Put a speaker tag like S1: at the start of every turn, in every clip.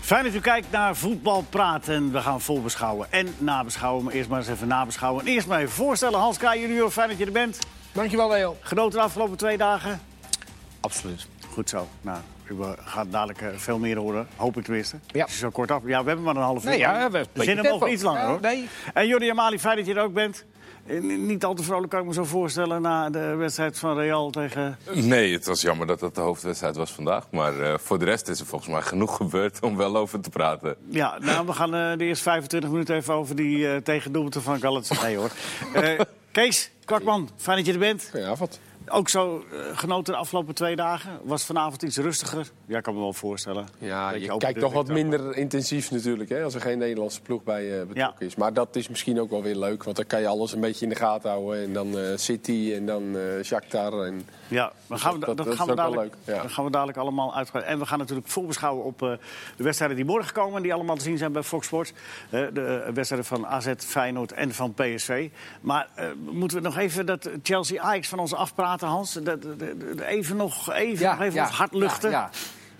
S1: Fijn dat u kijkt naar Voetbal Praat. En we gaan volbeschouwen en nabeschouwen. Maar eerst maar eens even nabeschouwen. En eerst maar even voorstellen. Hans K. junior, fijn dat je er bent.
S2: Dankjewel, Leo.
S1: Genoten de afgelopen twee dagen?
S3: Absoluut.
S1: Goed zo. Nou, u eh, gaat dadelijk eh, veel meer horen. Hoop ik tenminste.
S2: Ja.
S1: Als je zo kort af... Ja, we hebben maar een half uur.
S3: Nee, ja, we hebben een
S1: we
S3: beetje
S1: zitten hem
S3: tempo.
S1: over iets langer,
S2: Ja,
S1: hoor.
S2: nee.
S1: En Jordi Amali, fijn dat je er ook bent. Eh, Niet al te vrolijk, kan ik me zo voorstellen... na de wedstrijd van Real tegen...
S4: Nee, het was jammer dat dat de hoofdwedstrijd was vandaag. Maar eh, voor de rest is er volgens mij genoeg gebeurd om wel over te praten.
S1: Ja, nou, we gaan eh, de eerste 25 minuten even over die eh tegendoelpunten van Galatasaray, hoor. Eh, Kees, Kwakman, fijn dat je er bent.
S3: Goedenavond.
S1: Ook zo eh, genoten de afgelopen twee dagen. Was vanavond iets rustiger. Ja, ik kan me wel voorstellen.
S3: Ja,
S1: Beetje
S3: je
S1: open
S3: kijkt toch wat
S1: druk dan.
S3: minder intensief natuurlijk, hè, als er geen Nederlandse ploeg bij eh, betrokken
S1: Ja.
S3: is. Maar dat is misschien ook wel weer leuk, want dan kan je alles een beetje in de gaten houden. En dan eh, City en dan eh Shakhtar. En...
S1: Ja, dan gaan we,
S3: Dus dat-
S1: dat
S3: dat
S1: gaan
S3: is
S1: we
S3: ook wel
S1: dadelijk,
S3: leuk, ja.
S1: dat gaan we dadelijk allemaal uitgaan. En we gaan natuurlijk voorbeschouwen op eh, de wedstrijden die morgen komen... en die allemaal te zien zijn bij Fox Sports. Eh, de eh, wedstrijden van AZ, Feyenoord en van PSV. Maar eh, moeten we nog even dat Chelsea-Ajax van ons afpraten, Hans? Dat, dat- dat- even nog even, nog even ons hart luchten?
S2: Ja, ja,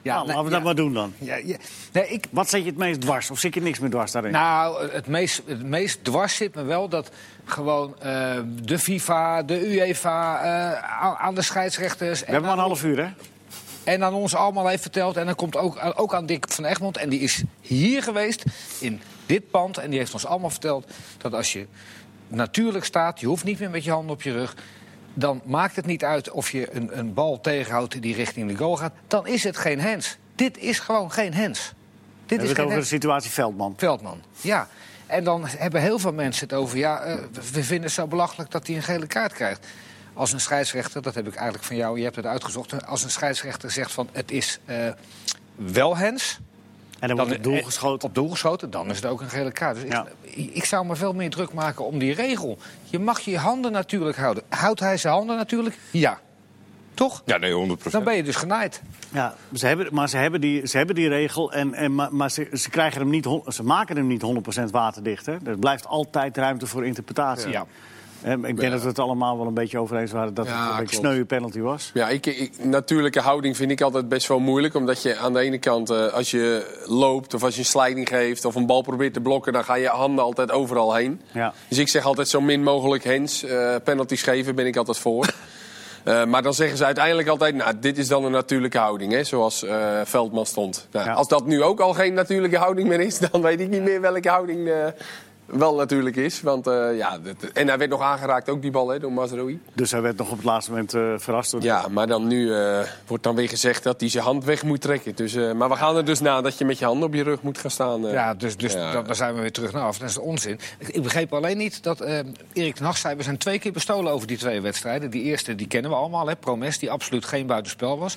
S2: ja.
S1: nou,
S2: Nee,
S1: laten we
S2: ja.
S1: dat maar doen dan.
S2: Ja, ja. Nee, ik,
S1: Wat zit je het meest dwars? Of zit je niks meer dwars daarin?
S2: nou, het meest, het meest dwars zit me wel dat gewoon eh, de FIFA, de UEFA, eh, aan- aan de scheidsrechters...
S1: we hebben maar een half uur, hè?
S2: En aan ons allemaal heeft verteld. En dan komt ook, ook aan Dick van Egmond. En die is hier geweest, in dit pand. En die heeft ons allemaal verteld dat als je natuurlijk staat... je hoeft niet meer met je handen op je rug... dan maakt het niet uit of je een, een bal tegenhoudt die richting de goal gaat. Dan is het geen hands. Dit is gewoon geen hands.
S1: We
S2: Dit
S1: hebben
S2: is
S1: het over
S2: geen
S1: de
S2: hands.
S1: situatie Veldman.
S2: Veldman, ja. En dan hebben heel veel mensen het over... ja, eh, we vinden het zo belachelijk dat hij een gele kaart krijgt. Als een scheidsrechter, dat heb ik eigenlijk van jou, je hebt het uitgezocht... als een scheidsrechter zegt van het is eh, wel hens...
S1: En dan wordt het doel
S2: eh,
S1: geschoten.
S2: Op doel geschoten, dan is het ook een gele kaart. Dus
S1: Ja.
S2: ik, ik zou me veel meer druk maken om die regel. Je mag je handen natuurlijk houden. Houdt hij zijn handen natuurlijk? Ja. Toch?
S4: Ja, nee, 100
S2: Dan ben je dus genaaid.
S1: Ja, ze hebben, maar ze hebben die, ze hebben die regel, en, en, maar, maar ze, ze, krijgen hem niet, hon- ze maken hem niet 100% waterdicht. Hè? Er blijft altijd ruimte voor interpretatie.
S2: Ja.
S1: Hè, maar ik denk dat we het allemaal wel een beetje over eens waren dat
S3: Ja,
S1: het een beetje
S3: klopt.
S1: sneuwe penalty was.
S3: Ja, ik, ik- natuurlijke houding vind ik altijd best wel moeilijk. Omdat je aan de ene kant, eh, als je loopt of als je een sliding geeft of een bal probeert te blokken, dan ga je handen altijd overal heen.
S1: Ja.
S3: Dus ik zeg altijd zo min mogelijk hands. eh, penalties geven ben ik altijd voor. Eh, maar dan zeggen ze uiteindelijk altijd, nou, dit is dan een natuurlijke houding, hè, zoals eh, Veldman stond. Nou,
S1: Ja.
S3: Als dat nu ook al geen natuurlijke houding meer is, dan weet ik niet meer welke houding eh, wel natuurlijk is. Want, eh, ja, dat- en hij werd nog aangeraakt, ook die bal, hè, door Mazraoui.
S1: Dus hij werd nog op het laatste moment eh, verrast. Door
S3: Ja, maar dan nu eh, wordt dan weer gezegd dat hij zijn hand weg moet trekken. Dus, eh, maar we gaan er dus na dat je met je handen op je rug moet gaan staan. eh.
S2: Ja, dus, dus
S3: Ja.
S2: Dan, dan zijn we weer terug naar af. Dat is onzin. Ik, ik begreep alleen niet dat eh, Erik ten Hag zei... we zijn twee keer bestolen over die twee wedstrijden. Die eerste die kennen we allemaal, hè, Promes, die absoluut geen buitenspel was.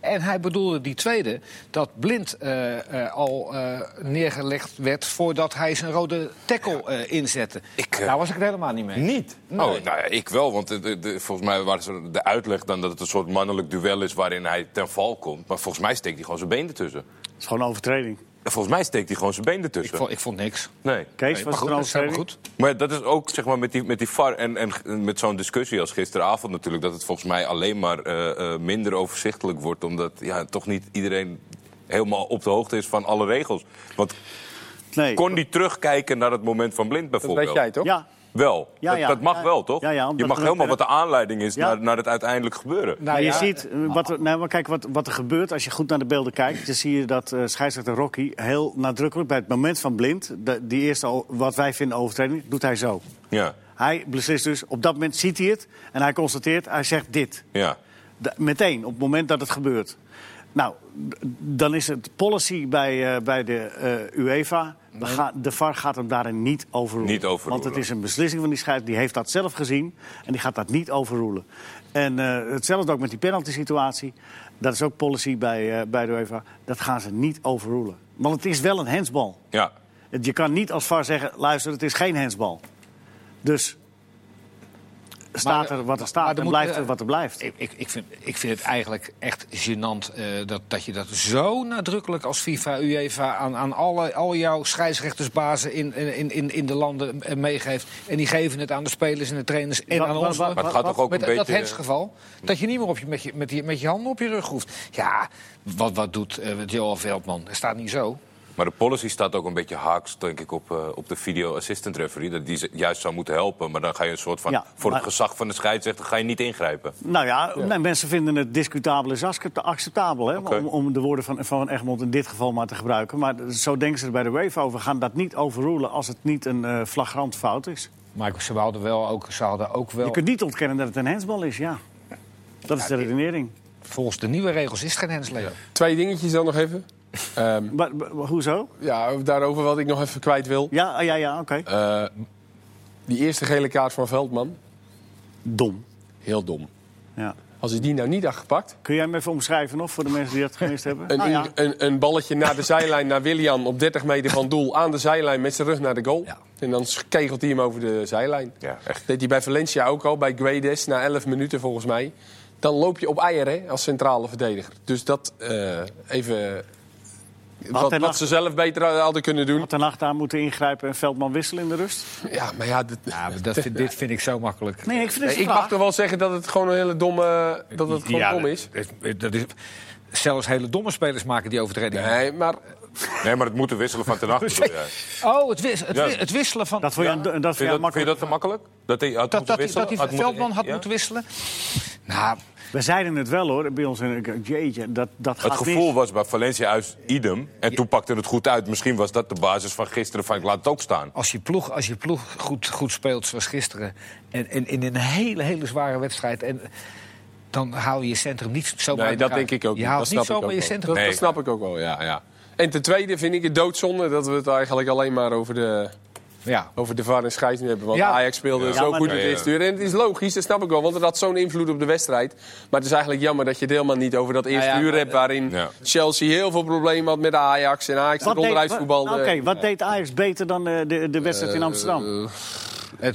S2: En hij bedoelde die tweede dat Blind eh, eh, al eh, neergelegd werd... voordat hij zijn rode tackle eh, inzette.
S4: Ik, eh,
S2: Daar was ik het helemaal niet mee.
S4: Niet?
S2: Nee.
S4: Oh, nou ja, ik wel. Want de- de- de- volgens mij was er de uitleg dan dat het een soort mannelijk duel is waarin hij ten val komt. Maar volgens mij steekt hij gewoon zijn been ertussen.
S1: Het is gewoon een overtreding.
S4: Volgens mij steekt hij gewoon zijn been
S2: Ik
S4: ertussen.
S2: vond, ik vond niks.
S4: Nee.
S1: Kees, was
S2: Nee, maar
S1: het
S2: goed,
S1: een
S2: dat is helemaal
S1: overtreding?
S2: goed.
S4: Maar dat is ook zeg maar, met, die, met die VAR en, en g- met zo'n discussie als gisteravond natuurlijk... dat het volgens mij alleen maar eh, eh, minder overzichtelijk wordt... omdat ja, toch niet iedereen helemaal op de hoogte is van alle regels. Want
S1: Nee.
S4: kon die terugkijken naar het moment van Blind
S3: dat
S4: bijvoorbeeld?
S3: weet jij toch?
S1: Ja,
S4: Wel.
S1: Ja,
S4: dat,
S1: ja.
S4: dat mag
S1: Ja,
S4: wel, toch?
S1: ja, ja, omdat
S4: je mag
S1: er-
S4: helemaal wat de aanleiding is
S1: Ja.
S4: naar, naar het uiteindelijk gebeuren.
S2: Nou
S1: maar je
S2: ja,
S1: ziet, eh, wat, er- nou, maar kijk wat, wat er gebeurt als je goed naar de beelden kijkt. Dan zie je dat eh scheidsrechter Rocky heel nadrukkelijk bij het moment van blind, de- die eerste, o- wat wij vinden overtreding, doet hij zo.
S4: Ja,
S1: Hij beslist dus, op dat moment ziet hij het en hij constateert, hij zegt dit.
S4: ja.
S1: Da- meteen, op het moment dat het gebeurt. Nou, d- dan is het policy bij, eh, bij de eh, UEFA. We gaan- de VAR gaat hem daarin niet overroelen.
S4: Niet overroelen.
S1: Want het is een beslissing van die scheids. Die heeft dat zelf gezien en die gaat dat niet overroelen. En eh, hetzelfde ook met die penalty-situatie. Dat is ook policy bij, eh, bij de UEFA. Dat gaan ze niet overroelen. Want het is wel een handsbal.
S4: ja.
S1: Het- Je kan niet als VAR zeggen, luister, het is geen handsbal. Dus staat
S2: Maar,
S1: er wat er
S2: maar
S1: staat
S2: er
S1: en
S2: moet,
S1: blijft
S2: eh,
S1: er wat er blijft.
S2: Ik, ik, ik, vind, ik vind het eigenlijk echt gênant eh, dat, dat je dat zo nadrukkelijk als FIFA, UEFA aan, aan alle, al jouw scheidsrechtersbazen in, in, in, in de landen eh, meegeeft. En die geven het aan de spelers en de trainers en
S1: Wa-
S2: aan
S1: wa-
S2: ons.
S1: wa-
S4: Maar het gaat toch ook
S2: met
S4: een
S2: dat
S4: beetje... eh,
S2: hensgeval, dat je niet meer op je, met, je, met, je, met je handen op je rug hoeft. Ja, wat, wat doet eh Joel Veldman? Dat staat niet zo.
S4: Maar de policy staat ook een beetje haaks, denk ik, op, eh, op de video assistant referee. Dat die ze- juist zou moeten helpen. Maar dan ga je een soort van...
S1: Ja,
S4: voor
S1: maar-
S4: het gezag van de scheidsrechter ga je niet ingrijpen.
S1: Nou ja, nee, mensen vinden het discutabel is accept- acceptabel. Hè?
S4: Oké.
S1: Om, om de woorden van, van Egmond in dit geval maar te gebruiken. Maar zo denken ze er bij de wave over. We gaan dat niet overrulen als het niet een eh, flagrant fout is.
S2: Maar ze hadden wel ook, ze hadden ook wel
S1: Je kunt niet ontkennen dat het een handsbal is, ja. Dat is de redenering.
S2: volgens de nieuwe regels is het geen hensleven.
S3: Twee dingetjes dan nog even. Ehm,
S1: Maar, maar- hoezo?
S3: ja, daarover wat ik nog even kwijt wil.
S1: Ja, ah, ja, ja, oké.
S3: Eh, die eerste gele kaart van Veldman,
S1: Dom.
S3: heel dom.
S1: Ja.
S3: Als hij die nou niet had gepakt...
S1: Kun jij hem even omschrijven nog voor de mensen die dat gemist hebben?
S3: Een,
S1: Nou ja.
S3: een, een balletje naar de zijlijn, naar Willian op 30 meter van doel... aan de zijlijn met zijn rug naar de goal.
S2: Ja.
S3: En dan kegelt hij hem over de zijlijn.
S4: Ja, echt.
S3: deed hij bij Valencia ook al, bij Guedes, na 11 minuten volgens mij. Dan loop je op eieren hè, als centrale verdediger. Dus dat eh, even... Wat,
S1: Ten
S3: wat
S1: Hag-
S3: ze zelf beter hadden kunnen doen.
S1: Had de nacht aan moeten ingrijpen en Veldman wisselen in de rust?
S3: Ja, maar ja, dit,
S2: Ja, maar dat vind- dit vind ik zo makkelijk.
S1: Nee, ik vind het
S3: ik mag toch wel zeggen dat het gewoon een hele domme... Dat het gewoon
S2: Ja,
S3: dom is.
S2: dat- dat- dat is- zelfs hele domme spelers maken die overtredingen.
S3: Nee, maar
S4: Nee, maar het moeten wisselen van ten nacht. bedoel jij.
S2: Oh, het, wis- het,
S4: Ja.
S2: wi- het wisselen van...
S1: Dat vond je, dat vond
S4: Vind,
S1: jij
S4: je dat, vind je
S1: makkelijk.
S4: dat te makkelijk? Dat hij had
S2: dat, dat, die-
S4: moeten wisselen?
S2: dat die
S4: Had moeten-
S2: Veldman had
S4: ja?
S2: moeten wisselen. Nou,
S1: We zeiden het wel hoor, bij ons. in- Jeetje, dat, dat gaat
S4: Het gevoel
S1: mis.
S4: was bij Valencia uit idem. En toen pakte het goed uit. Misschien was dat de basis van gisteren van ik laat het ook staan.
S2: als je ploeg, als je ploeg goed, goed speelt zoals gisteren... En, en in een hele, hele zware wedstrijd... En, dan hou je je centrum niet zo bij
S3: nee, dat
S2: elkaar.
S3: denk ik ook
S2: Je
S3: niet.
S2: haalt
S3: dat
S2: niet
S3: snap ik
S2: zomaar
S3: ook
S2: je
S3: wel.
S2: centrum.
S3: Dat,
S4: Nee.
S3: dat snap ik ook wel, ja, ja. En ten tweede vind ik het doodzonde dat we het eigenlijk alleen maar over de,
S2: Ja.
S3: over de VAR en scheidsrechter hebben. Want
S2: Ja.
S3: Ajax speelde
S4: Ja.
S3: zo
S1: Ja, maar-
S3: goed in het
S4: Ja, ja.
S3: eerste uur. En het is logisch, dat snap ik wel. Want het had zo'n invloed op de wedstrijd. Maar het is eigenlijk jammer dat je het helemaal niet over dat eerste
S2: Nou ja,
S3: uur
S2: maar-
S3: hebt... waarin
S4: Ja.
S3: Chelsea heel veel problemen had met Ajax. En Ajax eh, dat onderuit
S1: wat-
S3: voetbalde.
S1: nou,
S4: eh,
S1: oké, wat deed Ajax beter dan eh, de, de wedstrijd in
S3: Eh,
S1: Amsterdam?
S2: Het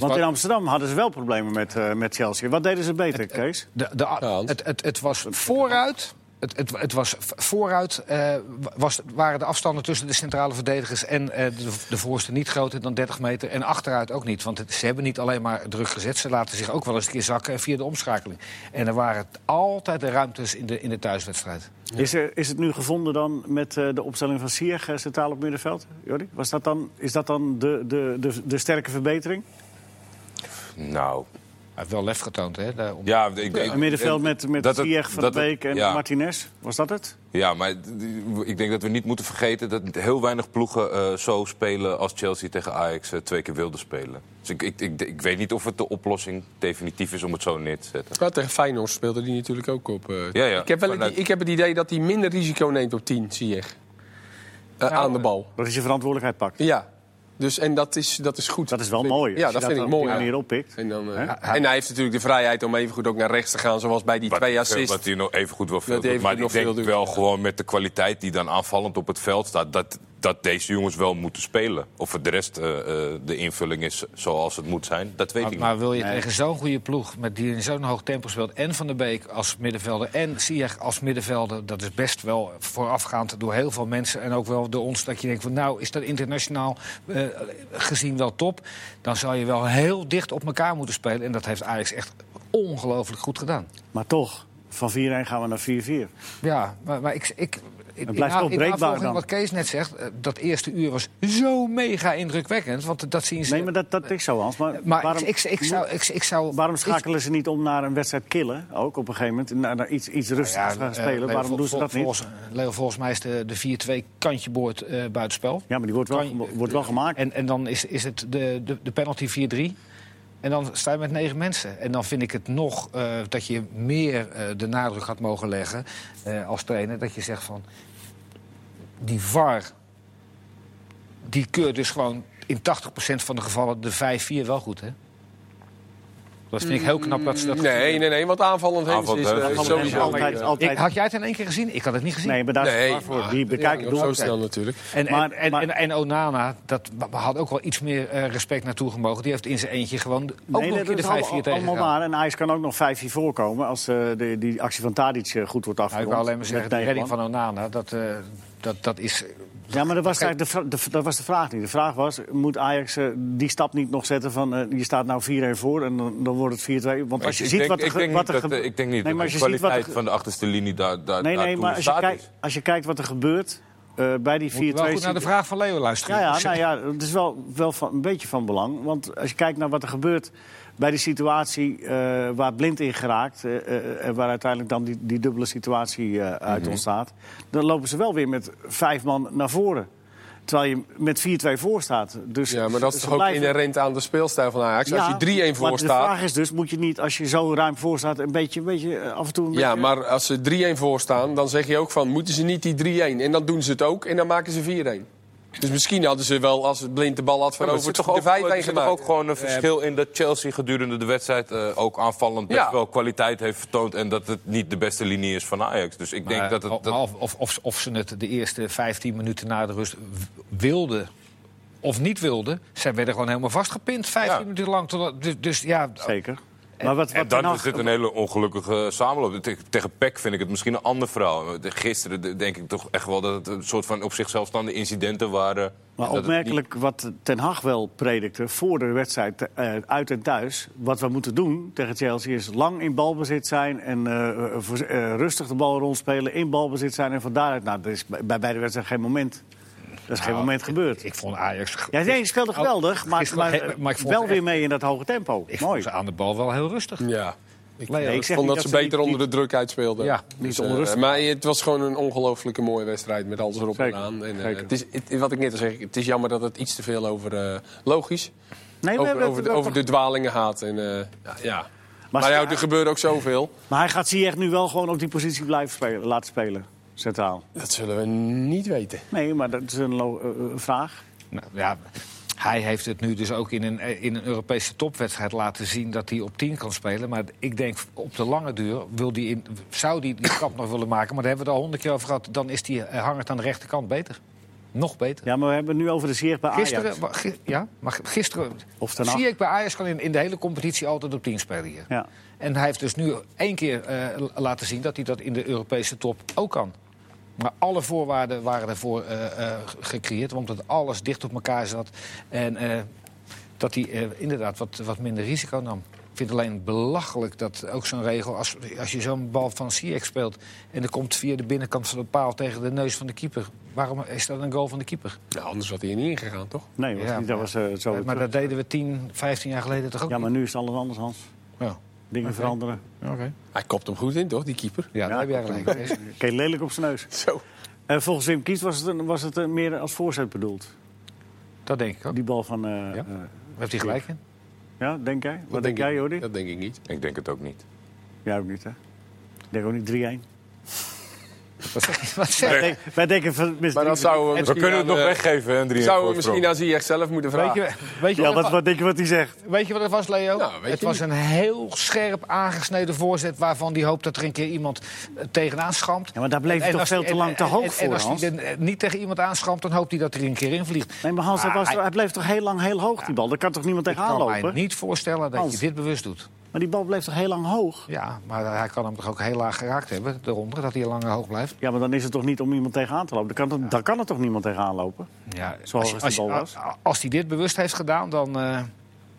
S1: Want
S2: was-
S1: in Amsterdam hadden ze wel problemen met, eh, met Chelsea. Wat deden ze beter, Kees?
S2: De, de,
S3: Hans.
S2: het, het, het was vooruit. Het, het, het was v- vooruit eh, wa- was, waren de afstanden tussen de centrale verdedigers en eh, de, de voorste niet groter dan 30 meter. En achteruit ook niet. Want het- ze hebben niet alleen maar druk gezet. Ze laten zich ook wel eens een keer zakken via de omschakeling. En er waren t- altijd de ruimtes in de, in de thuiswedstrijd.
S1: Is, er, is het nu gevonden dan met eh, de opstelling van Sierg eh, centraal op middenveld? Jordi, was dat dan, is dat dan de, de, de, de sterke verbetering?
S4: Nou,
S2: Hij heeft wel lef getoond, hè? daar om-
S4: ja, ik, ik, eh,
S1: Een middenveld met, met
S4: dat het-
S1: Ziyech, Van de
S4: dat het-
S1: Beek en
S4: ja.
S1: Martinez? Was dat het?
S4: Ja, maar d- d- ik denk dat we niet moeten vergeten dat heel weinig ploegen eh, zo spelen als Chelsea tegen Ajax eh, twee keer wilde spelen. Dus ik, ik, ik, ik weet niet of het de oplossing definitief is om het zo neer te zetten.
S3: Ja, tegen Feyenoord speelde die natuurlijk ook op. eh,
S4: Ja, ja.
S3: Ik, heb wel het,
S4: Vanuit-
S3: ik heb het idee dat hij minder risico neemt op 10, zie je. Eh,
S2: Nou,
S3: aan de bal.
S1: Dat is je verantwoordelijkheid pakt.
S3: Ja. Dus, en dat is, dat is goed.
S1: Dat is wel mooi.
S3: Ja,
S1: als je
S3: dat vind ik
S1: op die
S3: mooi. ja.
S1: manier oppikt.
S3: En, dan, eh,
S1: Hè?
S3: en hij heeft natuurlijk de vrijheid om evengoed ook naar rechts te gaan, zoals bij die
S4: Wat,
S3: twee
S4: hij veel-
S3: assists.
S4: wat hij nog even goed wil veel
S3: Dat hij
S4: doet.
S3: even
S4: Maar ik
S3: nog veel
S4: denk
S3: doet.
S4: wel gewoon met de kwaliteit die dan aanvallend op het veld staat, dat, dat deze jongens wel moeten spelen. Of het de rest eh, eh, de invulling is zoals het moet zijn, dat weet ik
S2: Maar,
S4: niet.
S2: maar wil je tegen zo'n goede ploeg, met die in zo'n hoog tempo speelt... en Van der Beek als middenvelder en Ziyech als middenvelder... dat is best wel voorafgaand door heel veel mensen en ook wel door ons... dat je denkt, van, nou is dat internationaal eh, gezien wel top... dan zou je wel heel dicht op elkaar moeten spelen. En dat heeft Ajax echt ongelooflijk goed gedaan.
S1: Maar toch, van 4-1 gaan we naar 4-4.
S2: Ja, maar, maar ik... ik in-
S1: Het blijft
S2: in na-
S1: toch
S2: in
S1: breekbaar
S2: navolging
S1: dan.
S2: wat Kees net zegt, eh, dat eerste uur was zo mega indrukwekkend. Want dat zien ze...
S1: Nee, maar dat, dat is zo, Hans. Maar,
S2: maar
S1: waarom,
S2: ik, ik, ik zou, ik, ik zou...
S1: waarom schakelen ze niet om naar een wedstrijd killen? Ook op een gegeven moment, naar, naar iets, iets rustiger
S2: Ja,
S1: Dus gaan
S2: eh,
S1: spelen.
S2: Leo,
S1: waarom
S2: vol-
S1: doen ze
S2: vol-
S1: dat niet?
S2: volgens, Leo, volgens mij is de, de 4-2 kantje boord eh buitenspel.
S1: Ja, maar die wordt wel,
S2: Kan je-
S1: gema- wordt wel gemaakt.
S2: En, en dan is, is het de, de, de penalty 4-3. En dan sta je met negen mensen. En dan vind ik het nog eh, dat je meer eh, de nadruk had mogen leggen eh, als trainer. Dat je zegt van, die VAR, die keurt dus gewoon in 80% van de gevallen de 5-4 wel goed, hè? Dat vind ik heel knap dat ze
S1: Mm.
S2: dat...
S3: Nee, nee, nee, want aanvallend heen
S4: Aanvallend
S3: is eh,
S4: Heems is
S3: sowieso.
S1: altijd,
S3: eh,
S1: altijd,
S2: Ik, had jij het in één keer gezien? Ik had het niet gezien.
S1: nee, maar daar is
S3: Nee.
S1: het klaar voor. Die bekijken
S3: ja,
S1: doen
S3: zo
S1: we-
S3: snel natuurlijk.
S2: En, en-
S1: Maar-
S2: en,
S1: maar-
S2: en, en Onana, dat b- had ook wel iets meer eh, respect naartoe gemogen. Die heeft in zijn eentje gewoon d- ook nog een keer de 5-4
S1: allemaal- allemaal
S2: tegen.
S1: waar. En Ajax kan ook nog 5-4 voorkomen als eh, de, die actie van Tadic eh, goed wordt
S2: Nou, ik
S1: afgerond.
S2: wil alleen maar
S1: Met
S2: zeggen, de
S1: negen
S2: redding
S1: man.
S2: van Onana, dat, eh, dat, dat is...
S1: Ja, maar dat was, eigenlijk de, vra- de- dat was de vraag niet. De vraag was, moet Ajax eh, die stap niet nog zetten van... eh, je staat nou 4-1 voor en dan, dan wordt het 4-2. Want als je
S4: ik
S1: ziet
S4: denk,
S1: wat er
S4: ik
S1: ge-
S4: denk
S1: wat
S4: niet
S1: er
S4: dat,
S1: gebe-
S4: eh, ik denk niet
S1: Nee,
S4: dat
S1: maar als
S4: de
S1: je ziet wat er
S4: kwaliteit
S1: ge-
S4: van de achterste linie daar, daar,
S1: Nee, nee,
S4: daartoe
S1: maar als je,
S4: in staat
S1: kijkt,
S4: is.
S1: als je kijkt wat er gebeurt... eh, bij die 4-2...
S2: Moet wel goed naar de vraag van Leo luisteren.
S1: Ja, ja, nou ja, het is wel, wel van, een beetje van belang. Want als je kijkt naar wat er gebeurt bij die situatie eh, waar Blind in geraakt... eh, eh, en waar uiteindelijk dan die, die dubbele situatie eh, uit
S3: Mhm.
S1: ontstaat... dan lopen ze wel weer met vijf man naar voren. Terwijl je met 4-2 voor staat. Dus
S3: Ja, maar dat is
S1: ze
S3: toch ook
S1: blijven-
S3: inherent aan de speelstijl van Ajax. Als je 3-1
S1: maar
S3: voor
S1: de
S3: staat...
S1: vraag is dus, moet je niet als je zo ruim voor staat... een beetje, een beetje eh, af en toe... Een
S3: Ja,
S1: beetje-
S3: maar als ze 3-1 voor staan, dan zeg je ook van... moeten ze niet die 3-1? En dan doen ze het ook en dan maken ze 4-1. Dus misschien hadden ze wel, als het blind de bal had
S4: maar er
S3: veroverd,
S4: zit toch
S3: de
S4: ook,
S3: 5-1
S4: er zit toch
S3: gemaakt.
S4: ook gewoon een verschil in dat Chelsea gedurende de wedstrijd eh, ook aanvallend best
S3: Ja.
S4: wel kwaliteit heeft vertoond. En dat het niet de beste linie is van Ajax. Dus ik denk dat het. Dat,
S2: Of, Eh, of, of, of ze het de eerste 15 minuten na de rust w- wilden of niet wilden. Zij werden gewoon helemaal vastgepind, 15
S4: Ja.
S2: minuten lang. totdat- dus, dus ja,
S1: Zeker. Maar wat, nou
S4: en
S1: wat
S4: dan
S1: Den
S4: is
S1: Haag-
S4: dit een hele ongelukkige samenloop. Te- Tegen Peck vind ik het misschien een ander verhaal. De- Gisteren de- denk ik toch echt wel dat het een soort van op zichzelf staande incidenten waren.
S1: Maar
S4: Dat het
S1: opmerkelijk wat Ten Hag wel predikte voor de wedstrijd eh, uit en thuis. Wat we moeten doen tegen Chelsea is lang in balbezit zijn... en eh, voor- eh, rustig de bal rondspelen, in balbezit zijn en van daaruit... Nou, dat is bij, bij beide wedstrijden geen moment. Dat is geen moment gebeurd.
S2: ik vond Ajax...
S1: Ja, nee, je speelde geweldig, maar,
S2: Gisteren-
S1: maar,
S2: he- maar ik vond
S1: wel
S2: het
S1: weer
S2: echt-
S1: mee in dat hoge tempo.
S2: ik vond
S1: Mooi.
S2: ze aan de bal wel heel rustig.
S3: Ja. Ik,
S2: Leo,
S3: eh,
S1: ik zeg
S3: vond
S1: niet
S3: dat ze
S1: dat ze
S3: beter
S1: niet-
S3: onder de druk uitspeelden.
S2: Ja,
S1: niet
S3: eh,
S1: onrustig.
S3: maar het was gewoon een ongelofelijke mooie wedstrijd met alles erop
S1: Zeker,
S3: en aan. En, eh,
S1: zeker.
S3: het is, het- wat ik net al zeg, het is jammer dat het iets te veel over... eh, logisch,
S1: Nee, we
S3: over,
S1: hebben
S3: over,
S1: het-
S3: de, over
S1: dat-
S3: de dwalingen gaat. En, eh, ja, ja. Maar,
S1: ze-
S3: ja, er gebeurt ook zoveel.
S1: Maar hij gaat Ziyech nu wel gewoon op die positie blijven spelen, laten spelen, centraal.
S3: Dat zullen we niet weten.
S1: Nee, maar dat is een lo- eh, eh, vraag.
S2: Nou, ja, hij heeft het nu dus ook in een, in een Europese topwedstrijd laten zien dat hij op 10 kan spelen. Maar ik denk op de lange duur wil die in, zou hij die, kap nog willen maken. Maar daar hebben we het al honderd keer over gehad. Dan is die eh, hangend aan de rechterkant beter. Nog beter.
S1: Ja, maar we hebben het nu over de Ziyech bij Ajax.
S2: Gisteren, wa- gi- ja, maar gisteren
S1: Of ten acht.
S2: zie ik bij Ajax kan in, in de hele competitie altijd op 10 spelen hier.
S1: Ja.
S2: En hij heeft dus nu één keer eh, laten zien dat hij dat in de Europese top ook kan. Maar alle voorwaarden waren daarvoor eh, eh, gecreëerd, omdat alles dicht op elkaar zat. En eh, dat hij eh, inderdaad wat, wat minder risico nam. Ik vind alleen belachelijk dat ook zo'n regel, als, als je zo'n bal van Sierk speelt en er komt via de binnenkant van de paal tegen de neus van de keeper. Waarom is dat een goal van de keeper?
S3: Nou, anders had hij er niet ingegaan, toch?
S1: Nee, was
S2: Ja,
S1: niet, dat was eh, zo.
S2: maar dat deden we 10, 15 jaar geleden toch ook?
S1: Ja, maar nu is alles anders, Hans.
S2: Ja,
S1: Dingen veranderen.
S2: oké.
S3: Hij kopt hem goed in, toch, die keeper?
S2: Ja, daar heb jij gelijk.
S1: Kees lelijk op zijn neus.
S3: Zo.
S1: En volgens Wim Kies was het, een- was het een meer als voorzet bedoeld.
S2: Dat denk ik ook.
S1: Die bal van... eh, eh,
S2: Ja.
S1: ja?
S2: Daar heeft hij gelijk in.
S1: denk jij? Wat denk jij, Jordi?
S3: Dat denk ik niet.
S4: Ik denk het ook niet.
S1: Jij ook niet, hè? Ik denk ook niet 3-1.
S2: Wat zeg je? Wat zeg je?
S1: Wij denk- Wij denken van... mis-
S3: Maar dat zouden we
S4: We
S3: misschien
S4: kunnen het
S3: aan,
S4: nog
S3: eh,
S4: weggeven, hè, een 3-1
S3: Zouden we
S4: voorsprong.
S3: misschien aan Ziyech zelf moeten
S2: Weet
S3: vragen.
S2: je, weet, je
S1: Ja,
S2: wat
S1: wat,
S2: het
S1: wat denk je wat hij zegt?
S2: wa- weet je wat het was, Leo?
S3: Nou, weet
S2: het
S3: je
S2: was
S3: niet.
S2: een heel scherp aangesneden voorzet... waarvan die hoopt dat er een keer iemand eh, tegenaan schampt.
S1: Ja, maar daar bleef
S2: En
S1: het toch
S2: als-
S1: veel te
S2: en-
S1: lang te
S2: en-
S1: hoog
S2: en-
S1: voor,
S2: En als
S1: Hans?
S2: hij dan, eh, niet tegen iemand aanschampt, dan hoopt hij dat hij er een keer in vliegt.
S1: Nee, maar Hans, hij,
S2: Ah,
S1: was,
S2: hij-
S1: hij bleef toch heel lang heel hoog, die bal? Daar kan toch niemand
S2: Ik
S1: tegenaan
S2: kan mij
S1: lopen?
S2: niet voorstellen dat
S1: Hans.
S2: je dit bewust doet.
S1: Maar die bal bleef toch heel lang hoog?
S2: Ja, maar hij kan hem toch ook heel laag geraakt hebben, daaronder, dat hij lang hoog blijft.
S1: Ja, maar dan is het toch niet om iemand tegenaan te lopen? Daar kan, toch- daar kan er toch niemand tegenaan lopen?
S2: Ja,
S1: Zo hoog als die bal was.
S2: a- als hij dit bewust heeft gedaan, dan, eh,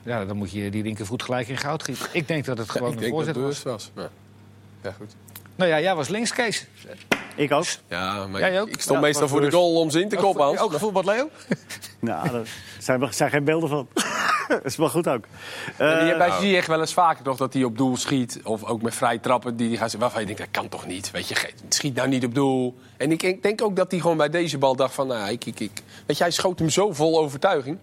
S2: ja, dan moet je die linkervoet gelijk in goud gieten. Ik denk dat het
S3: Ja,
S2: gewoon
S3: ik
S2: een
S3: denk dat het
S2: voorzet was.
S3: bewust was. Ja. Ja, goed.
S2: Nou ja, jij was links, Kees.
S1: Ik ook.
S3: Ja, maar
S2: Jij ook?
S3: ik stond
S1: Ja,
S3: meestal
S1: was
S3: voor de
S1: bewust.
S3: goal om ze in te koppen, Hans.
S2: Ook gevoel wat Leo?
S1: Nou, daar zijn, we- zijn geen beelden van. Dat is wel goed ook.
S3: En die
S1: Eh,
S3: hebben bij Ziyech wel eens vaker toch dat hij op doel schiet. Of ook met vrij trappen die hij gaat zeggen, waarvan je denkt, dat kan toch niet. Weet je, ge- schiet nou niet op doel. En ik, ik denk ook dat hij gewoon bij deze bal dacht van, nou, ik, ik, ik. Weet je, hij schoot hem zo vol overtuiging.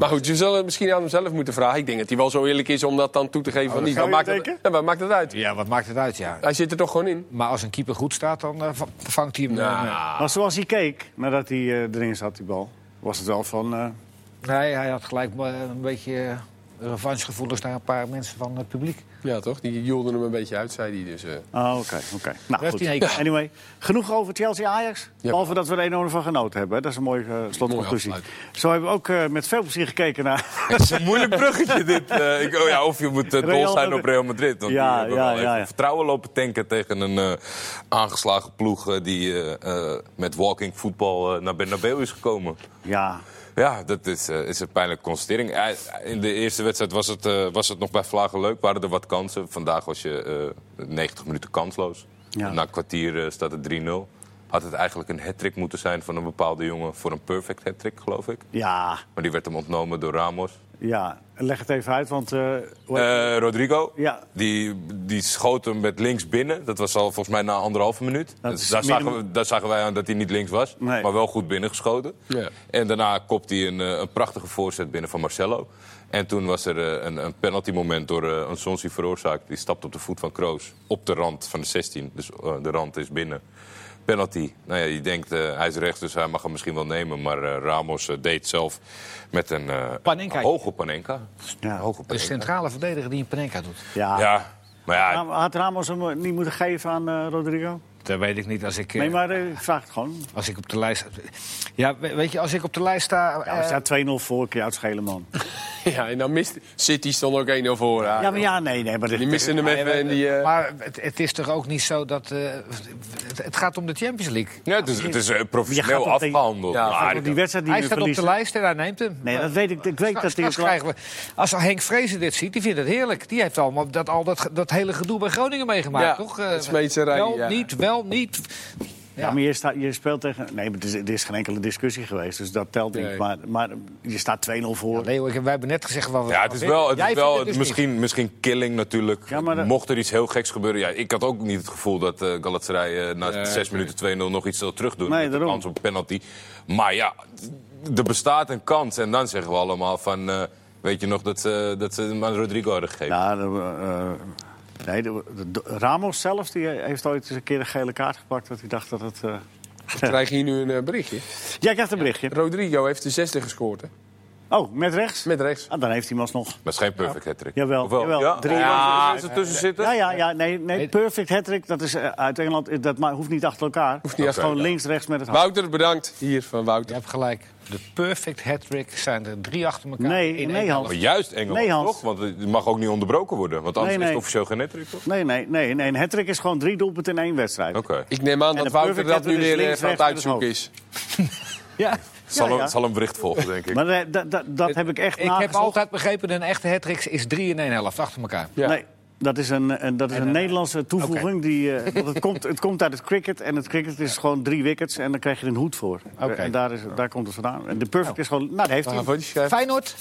S3: Maar goed, je zullen het misschien aan hemzelf moeten vragen. Ik denk dat hij wel zo eerlijk is om dat dan toe te geven. van niet,
S1: zou
S3: wat
S1: je
S3: maakt, het,
S1: denken?
S3: ja, wat maakt het uit?
S2: Ja, wat maakt het uit, ja.
S1: Eh.
S3: Hij zit er toch gewoon in.
S2: Maar als een keeper goed staat, dan eh, va- vangt hij hem.
S3: Nou,
S2: eh,
S1: Maar zoals hij keek, nadat hij eh, erin zat, die bal, was het wel van... eh,
S2: nee, hij had gelijk eh, een beetje eh, revanchegevoelens naar een paar mensen van het publiek.
S3: Ja, toch? Die joelden hem een beetje uit, zei hij. Dus, eh.
S1: Oh, oké, oké. Nou,
S2: Heeft hij een
S1: goed.
S2: hekel.
S1: Anyway, genoeg over Chelsea-Ajax.
S3: Ja.
S1: Behalve dat we er enorm van genoten hebben. hè. Dat is een mooie eh, slotconclusie.
S3: Mooi
S1: Zo hebben we ook eh, met veel plezier gekeken naar...
S4: Het is een moeilijk bruggetje dit. Eh, ik, oh ja, of je moet eh, dol
S1: Real
S4: zijn op
S1: Madrid.
S4: Real Madrid. Want
S1: Ja,
S4: die hebben
S1: ja,
S4: wel even
S1: ja, ja.
S4: vertrouwen lopen tanken tegen een eh, aangeslagen ploeg... eh, die eh, eh, met walking voetbal eh, naar Bernabeu is gekomen.
S1: ja,
S4: Ja, dat is, eh, is een pijnlijke constatering. Eh, in de eerste wedstrijd was het, eh, was het nog bij Vlagen leuk. Waren er wat kansen. Vandaag was je eh, 90 minuten kansloos.
S1: Ja.
S4: Na een kwartier eh, staat het 3-0. had het eigenlijk een hat moeten zijn van een bepaalde jongen voor een perfect hat geloof ik.
S1: Ja,
S4: Maar die werd hem ontnomen door Ramos.
S1: ja. Leg het even uit, want... eh, hoe-
S4: Eh, Rodrigo,
S1: Ja.
S4: die, die schoot hem met links binnen. Dat was al volgens mij na anderhalve minuut. Dus
S1: is
S4: daar,
S1: minimum-
S4: zagen we, daar zagen wij aan dat hij niet links was,
S1: Nee.
S4: maar wel goed binnengeschoten.
S3: Ja.
S4: En daarna kopte hij een, eh, een prachtige voorzet binnen van Marcelo. En toen was er eh, een, een penalty moment door eh, een Sonsi veroorzaakt. Die stapt op de voet van Kroos op de rand van de 16. Dus eh, de rand is binnen. Penalty. Nou ja, je denkt, eh, hij is rechts, dus hij mag hem misschien wel nemen. Maar eh, Ramos eh, deed zelf met een, eh,
S2: Panenka.
S4: hoge panenka.
S1: Ja.
S4: Hoge
S2: De centrale verdediger die een panenka doet.
S1: Ah. ja.
S4: ja, maar ja,
S1: Nou, Had Ramos hem eh, niet moeten geven aan eh, Rodrigo?
S2: Dat weet ik niet als ik, eh,
S1: Nee, maar eh, ik vraag het gewoon.
S2: als ik op de lijst... Ja, we- weet je, als ik op de lijst sta...
S1: Ja, we
S2: eh,
S1: staan 2-0 voor, kun je uitschelen, man.
S3: Ja, en dan mist City stond ook 1-0 voor. Ja,
S1: Ja, maar ja, nee, nee. Maar dit-
S3: Die missen hem even en die... eh,
S2: Maar het, het is toch ook niet zo dat... eh, het, het gaat om de Champions League.
S4: ja, het is, het is eh,
S1: Je
S4: professioneel
S1: gaat op tegen-
S4: afgehandeld.
S3: Ja,
S4: Maar
S1: die wedstrijd die
S2: Hij
S1: we
S2: staat op de
S1: verliezen.
S2: lijst en hij neemt hem.
S1: Nee, dat weet ik. Ik weet dat
S2: Nou, Straks
S1: hij ook wel-
S2: krijgen we, als Henk Vrezen dit ziet, die vindt het heerlijk. Die heeft allemaal dat, al dat, dat hele gedoe bij Groningen meegemaakt,
S3: Ja,
S2: toch? Eh,
S3: het smeetserij,
S2: wel,
S3: ja.
S2: niet, wel, niet.
S1: Ja, maar je, staat, je speelt tegen... Nee, maar er is, er is geen enkele discussie geweest, dus dat telt niet.
S3: Nee.
S1: Maar, maar je staat 2-0 voor.
S2: Leo, ik, wij hebben net gezegd wat we
S4: Ja, het is wel, het
S2: Jij
S4: is
S2: vindt
S4: wel
S2: het dus niet.
S4: misschien, misschien killing natuurlijk.
S1: Ja, maar dat-
S4: Mocht er iets heel geks gebeuren. Ja, ik had ook niet het gevoel dat eh Galatasaray eh, na zes minuten 2-0 nog iets zal terugdoen.
S1: Nee,
S4: met de
S1: daarom.
S4: kans op penalty. Maar ja, d- er bestaat een kans. En dan zeggen we allemaal van... eh, weet je nog dat ze, dat ze hem aan Rodrigo hadden gegeven?
S1: Ja, de, eh, nee, de- de- Ramos zelf die eh, heeft ooit eens een keer een gele kaart gepakt... dat hij dacht dat het... eh,
S3: krijg je hier nu een eh, berichtje.
S1: Ja, ik krijg een berichtje.
S3: Rodrigo heeft de zesde gescoord, hè?
S1: Oh, met rechts?
S3: Met rechts.
S1: Ah, dan heeft hij hem alsnog.
S4: Maar het is geen perfect hat-trick.
S1: Jawel,
S4: Of wel?
S1: jawel.
S4: Ja,
S1: Drie-
S4: ja, is er tussen zitten?
S1: Ja, ja, ja. Nee, nee perfect hattrick. Dat is eh, uit Engeland. eh, Dat ma- hoeft niet achter elkaar. Hoeft
S3: niet achter
S1: Gewoon links, rechts met het hart.
S3: Wouter, bedankt. Hier van
S2: Je
S3: Wouter.
S2: hebt gelijk. De perfect hat-trick zijn er drie achter elkaar.
S1: Nee,
S2: in
S1: nee,
S2: één
S1: Hans.
S2: helft.
S4: Maar juist Engeland,
S1: Nee, Hans.
S4: toch? Want het mag ook niet onderbroken worden. Want anders
S1: Nee,
S4: is
S1: nee.
S4: het officieel geen hat-trick, toch?
S1: Nee, nee, nee. nee. Een hattrick is gewoon drie doelpunten in één wedstrijd.
S4: Oké.
S3: Ik neem aan
S1: En
S3: dat
S1: de
S3: Wouter
S1: perfect
S3: dat nu
S1: hebben we dus
S3: weer
S1: links,
S3: even aan
S1: rechts
S3: het
S1: en
S3: uitzoeken is.
S2: Ja.
S4: Zal,
S1: Ja, ja.
S4: Hem, zal hem bericht volgen, denk ik.
S1: Maar eh, dat- dat- dat heb ik echt
S2: Ik heb
S1: nagezocht.
S2: altijd begrepen dat een echte hat-trick is drie in één helft achter elkaar.
S3: Ja.
S1: Nee, dat is een, een- dat is een Nederlandse toevoeging. Die, eh, want het, komt, het komt uit het cricket. En het cricket is gewoon drie wickets. En dan krijg je er een hoed voor.
S2: Oké.
S1: En daar, is, daar komt het vandaan. En de perfect is gewoon... Nou, dat heeft hij.
S3: Ah, wat je schrijft.
S2: Feyenoord,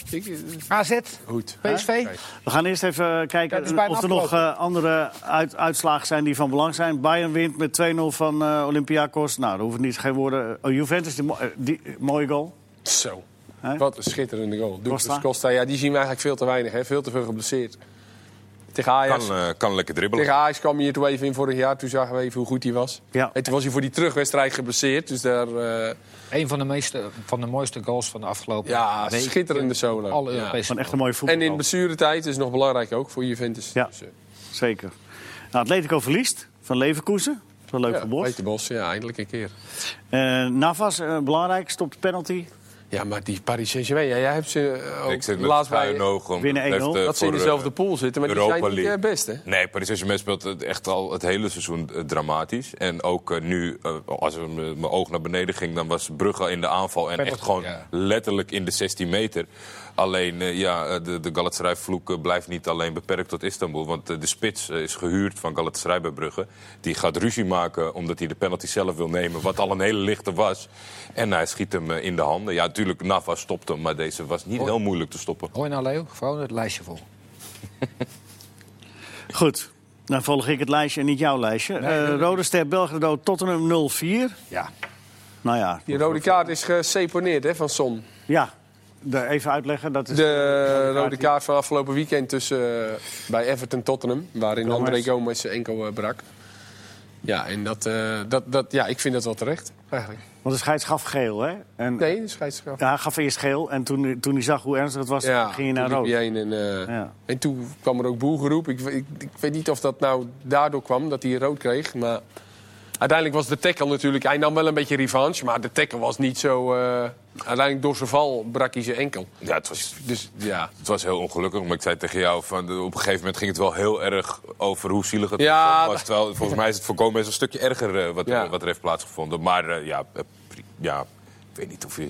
S2: AZ,
S3: Goed.
S2: PSV.
S1: We gaan eerst even kijken
S2: Dat is bijna
S1: of er nog eh, andere uit- uitslagen zijn die van belang zijn. Bayern wint met 2-0 van eh, Olympiakos. Nou, daar hoeven niet geen woorden. Oh, Juventus, die, mo- eh, die- mooie goal.
S3: Zo.
S1: Hè?
S3: Wat een schitterende goal. Douglas
S1: Costa.
S3: Costa. Ja, die zien we eigenlijk veel te weinig. Hè? Veel te veel geblesseerd. Tegen Ajax,
S4: Kan, eh, kan lekker dribbelen.
S3: tegen Ajax kwam hij er toen even in vorig jaar. Toen zagen we even hoe goed hij was.
S1: Ja.
S3: En toen was hij voor die terugwedstrijd geblesseerd. Dus daar... eh,
S2: Een van de, meeste, van de mooiste goals van de afgelopen
S3: ja,
S2: week.
S3: schitterende solo.
S2: Alle
S3: Ja.
S2: Europese
S1: Van echt een mooie voetbal.
S3: En in blessuretijd is nog belangrijk ook voor Juventus.
S1: Ja.
S3: Dus, eh,
S1: Zeker. Nou, Atletico verliest van Leverkusen. Dat is wel leuk
S3: ja,
S1: voor Bos.
S3: Peter Bos, ja, eindelijk een keer.
S1: Eh, Navas, eh, belangrijk, stopt de penalty.
S3: Ja, maar die Paris Saint-Germain, ja, jij hebt ze eh, ook
S4: Ik zit met
S3: laatst
S4: schuin
S3: bij...
S4: oog. om-
S1: Winnen
S4: heeft,
S1: 1-0.
S4: eh,
S3: Dat ze in
S4: voor,
S3: dezelfde
S4: eh,
S3: pool zitten, maar die
S4: Europa
S3: zijn niet
S4: League.
S3: eh, best, hè?
S4: Nee, Paris Saint-Germain speelt het echt al het hele seizoen eh, dramatisch. En ook eh, nu, eh, als er m- mijn oog naar beneden ging, dan was Brugge in de aanval. En echt gewoon
S2: ja.
S4: letterlijk in de 16 meter. Alleen, eh, ja, eh, de, de Galatasaray-vloek eh, blijft niet alleen beperkt tot Istanbul. Want eh, de spits eh, is gehuurd van Galatasaray bij Brugge. Die gaat ruzie maken omdat hij de penalty zelf wil nemen. Wat al een hele lichte was. En hij schiet hem eh, in de handen. Ja, natuurlijk, Nava stopt hem. Maar deze was niet heel moeilijk te stoppen.
S2: Hoor je nou, Leo? Gewoon het lijstje vol.
S1: Goed. Dan volg ik het lijstje en niet jouw lijstje. Eh, Rode Ster, Belgrado, Tottenham 0-4.
S2: Ja.
S1: Nou ja,
S3: Die rode kaart is geseponeerd hè, van Son.
S1: ja. De- even uitleggen. Dat is
S3: De rode kaart van afgelopen weekend tussen, eh, bij Everton Tottenham, waarin André Gomes zijn enkel eh, brak. Ja, en dat, eh, dat, dat, ja, ik vind dat wel terecht, eigenlijk.
S1: Want de scheids gaf geel, hè? En,
S3: Nee, de scheidsrechter.
S1: Ja, hij gaf eerst geel en toen, toen hij zag hoe ernstig het was, ging hij naar
S3: toen
S1: rood.
S3: liep hij heen en, eh,
S1: Ja.
S3: en toen kwam er ook boelgeroep. Ik, ik, ik weet niet of dat nou daardoor kwam, dat hij rood kreeg. Maar uiteindelijk was de tackle natuurlijk... Hij nam wel een beetje revanche, maar de tackle was niet zo... eh, uiteindelijk door zijn val brak hij zijn enkel.
S4: Ja, het was
S3: Dus ja,
S4: Het was heel ongelukkig, maar ik zei tegen jou... Van, eh, op een gegeven moment ging het wel heel erg over hoe zielig het
S3: Ja,
S4: was. Terwijl volgens mij is het voor Gomez een stukje erger eh, wat,
S3: Ja.
S4: eh, wat er heeft plaatsgevonden. Maar eh, ja, eh, pri- ja, ik weet niet of je...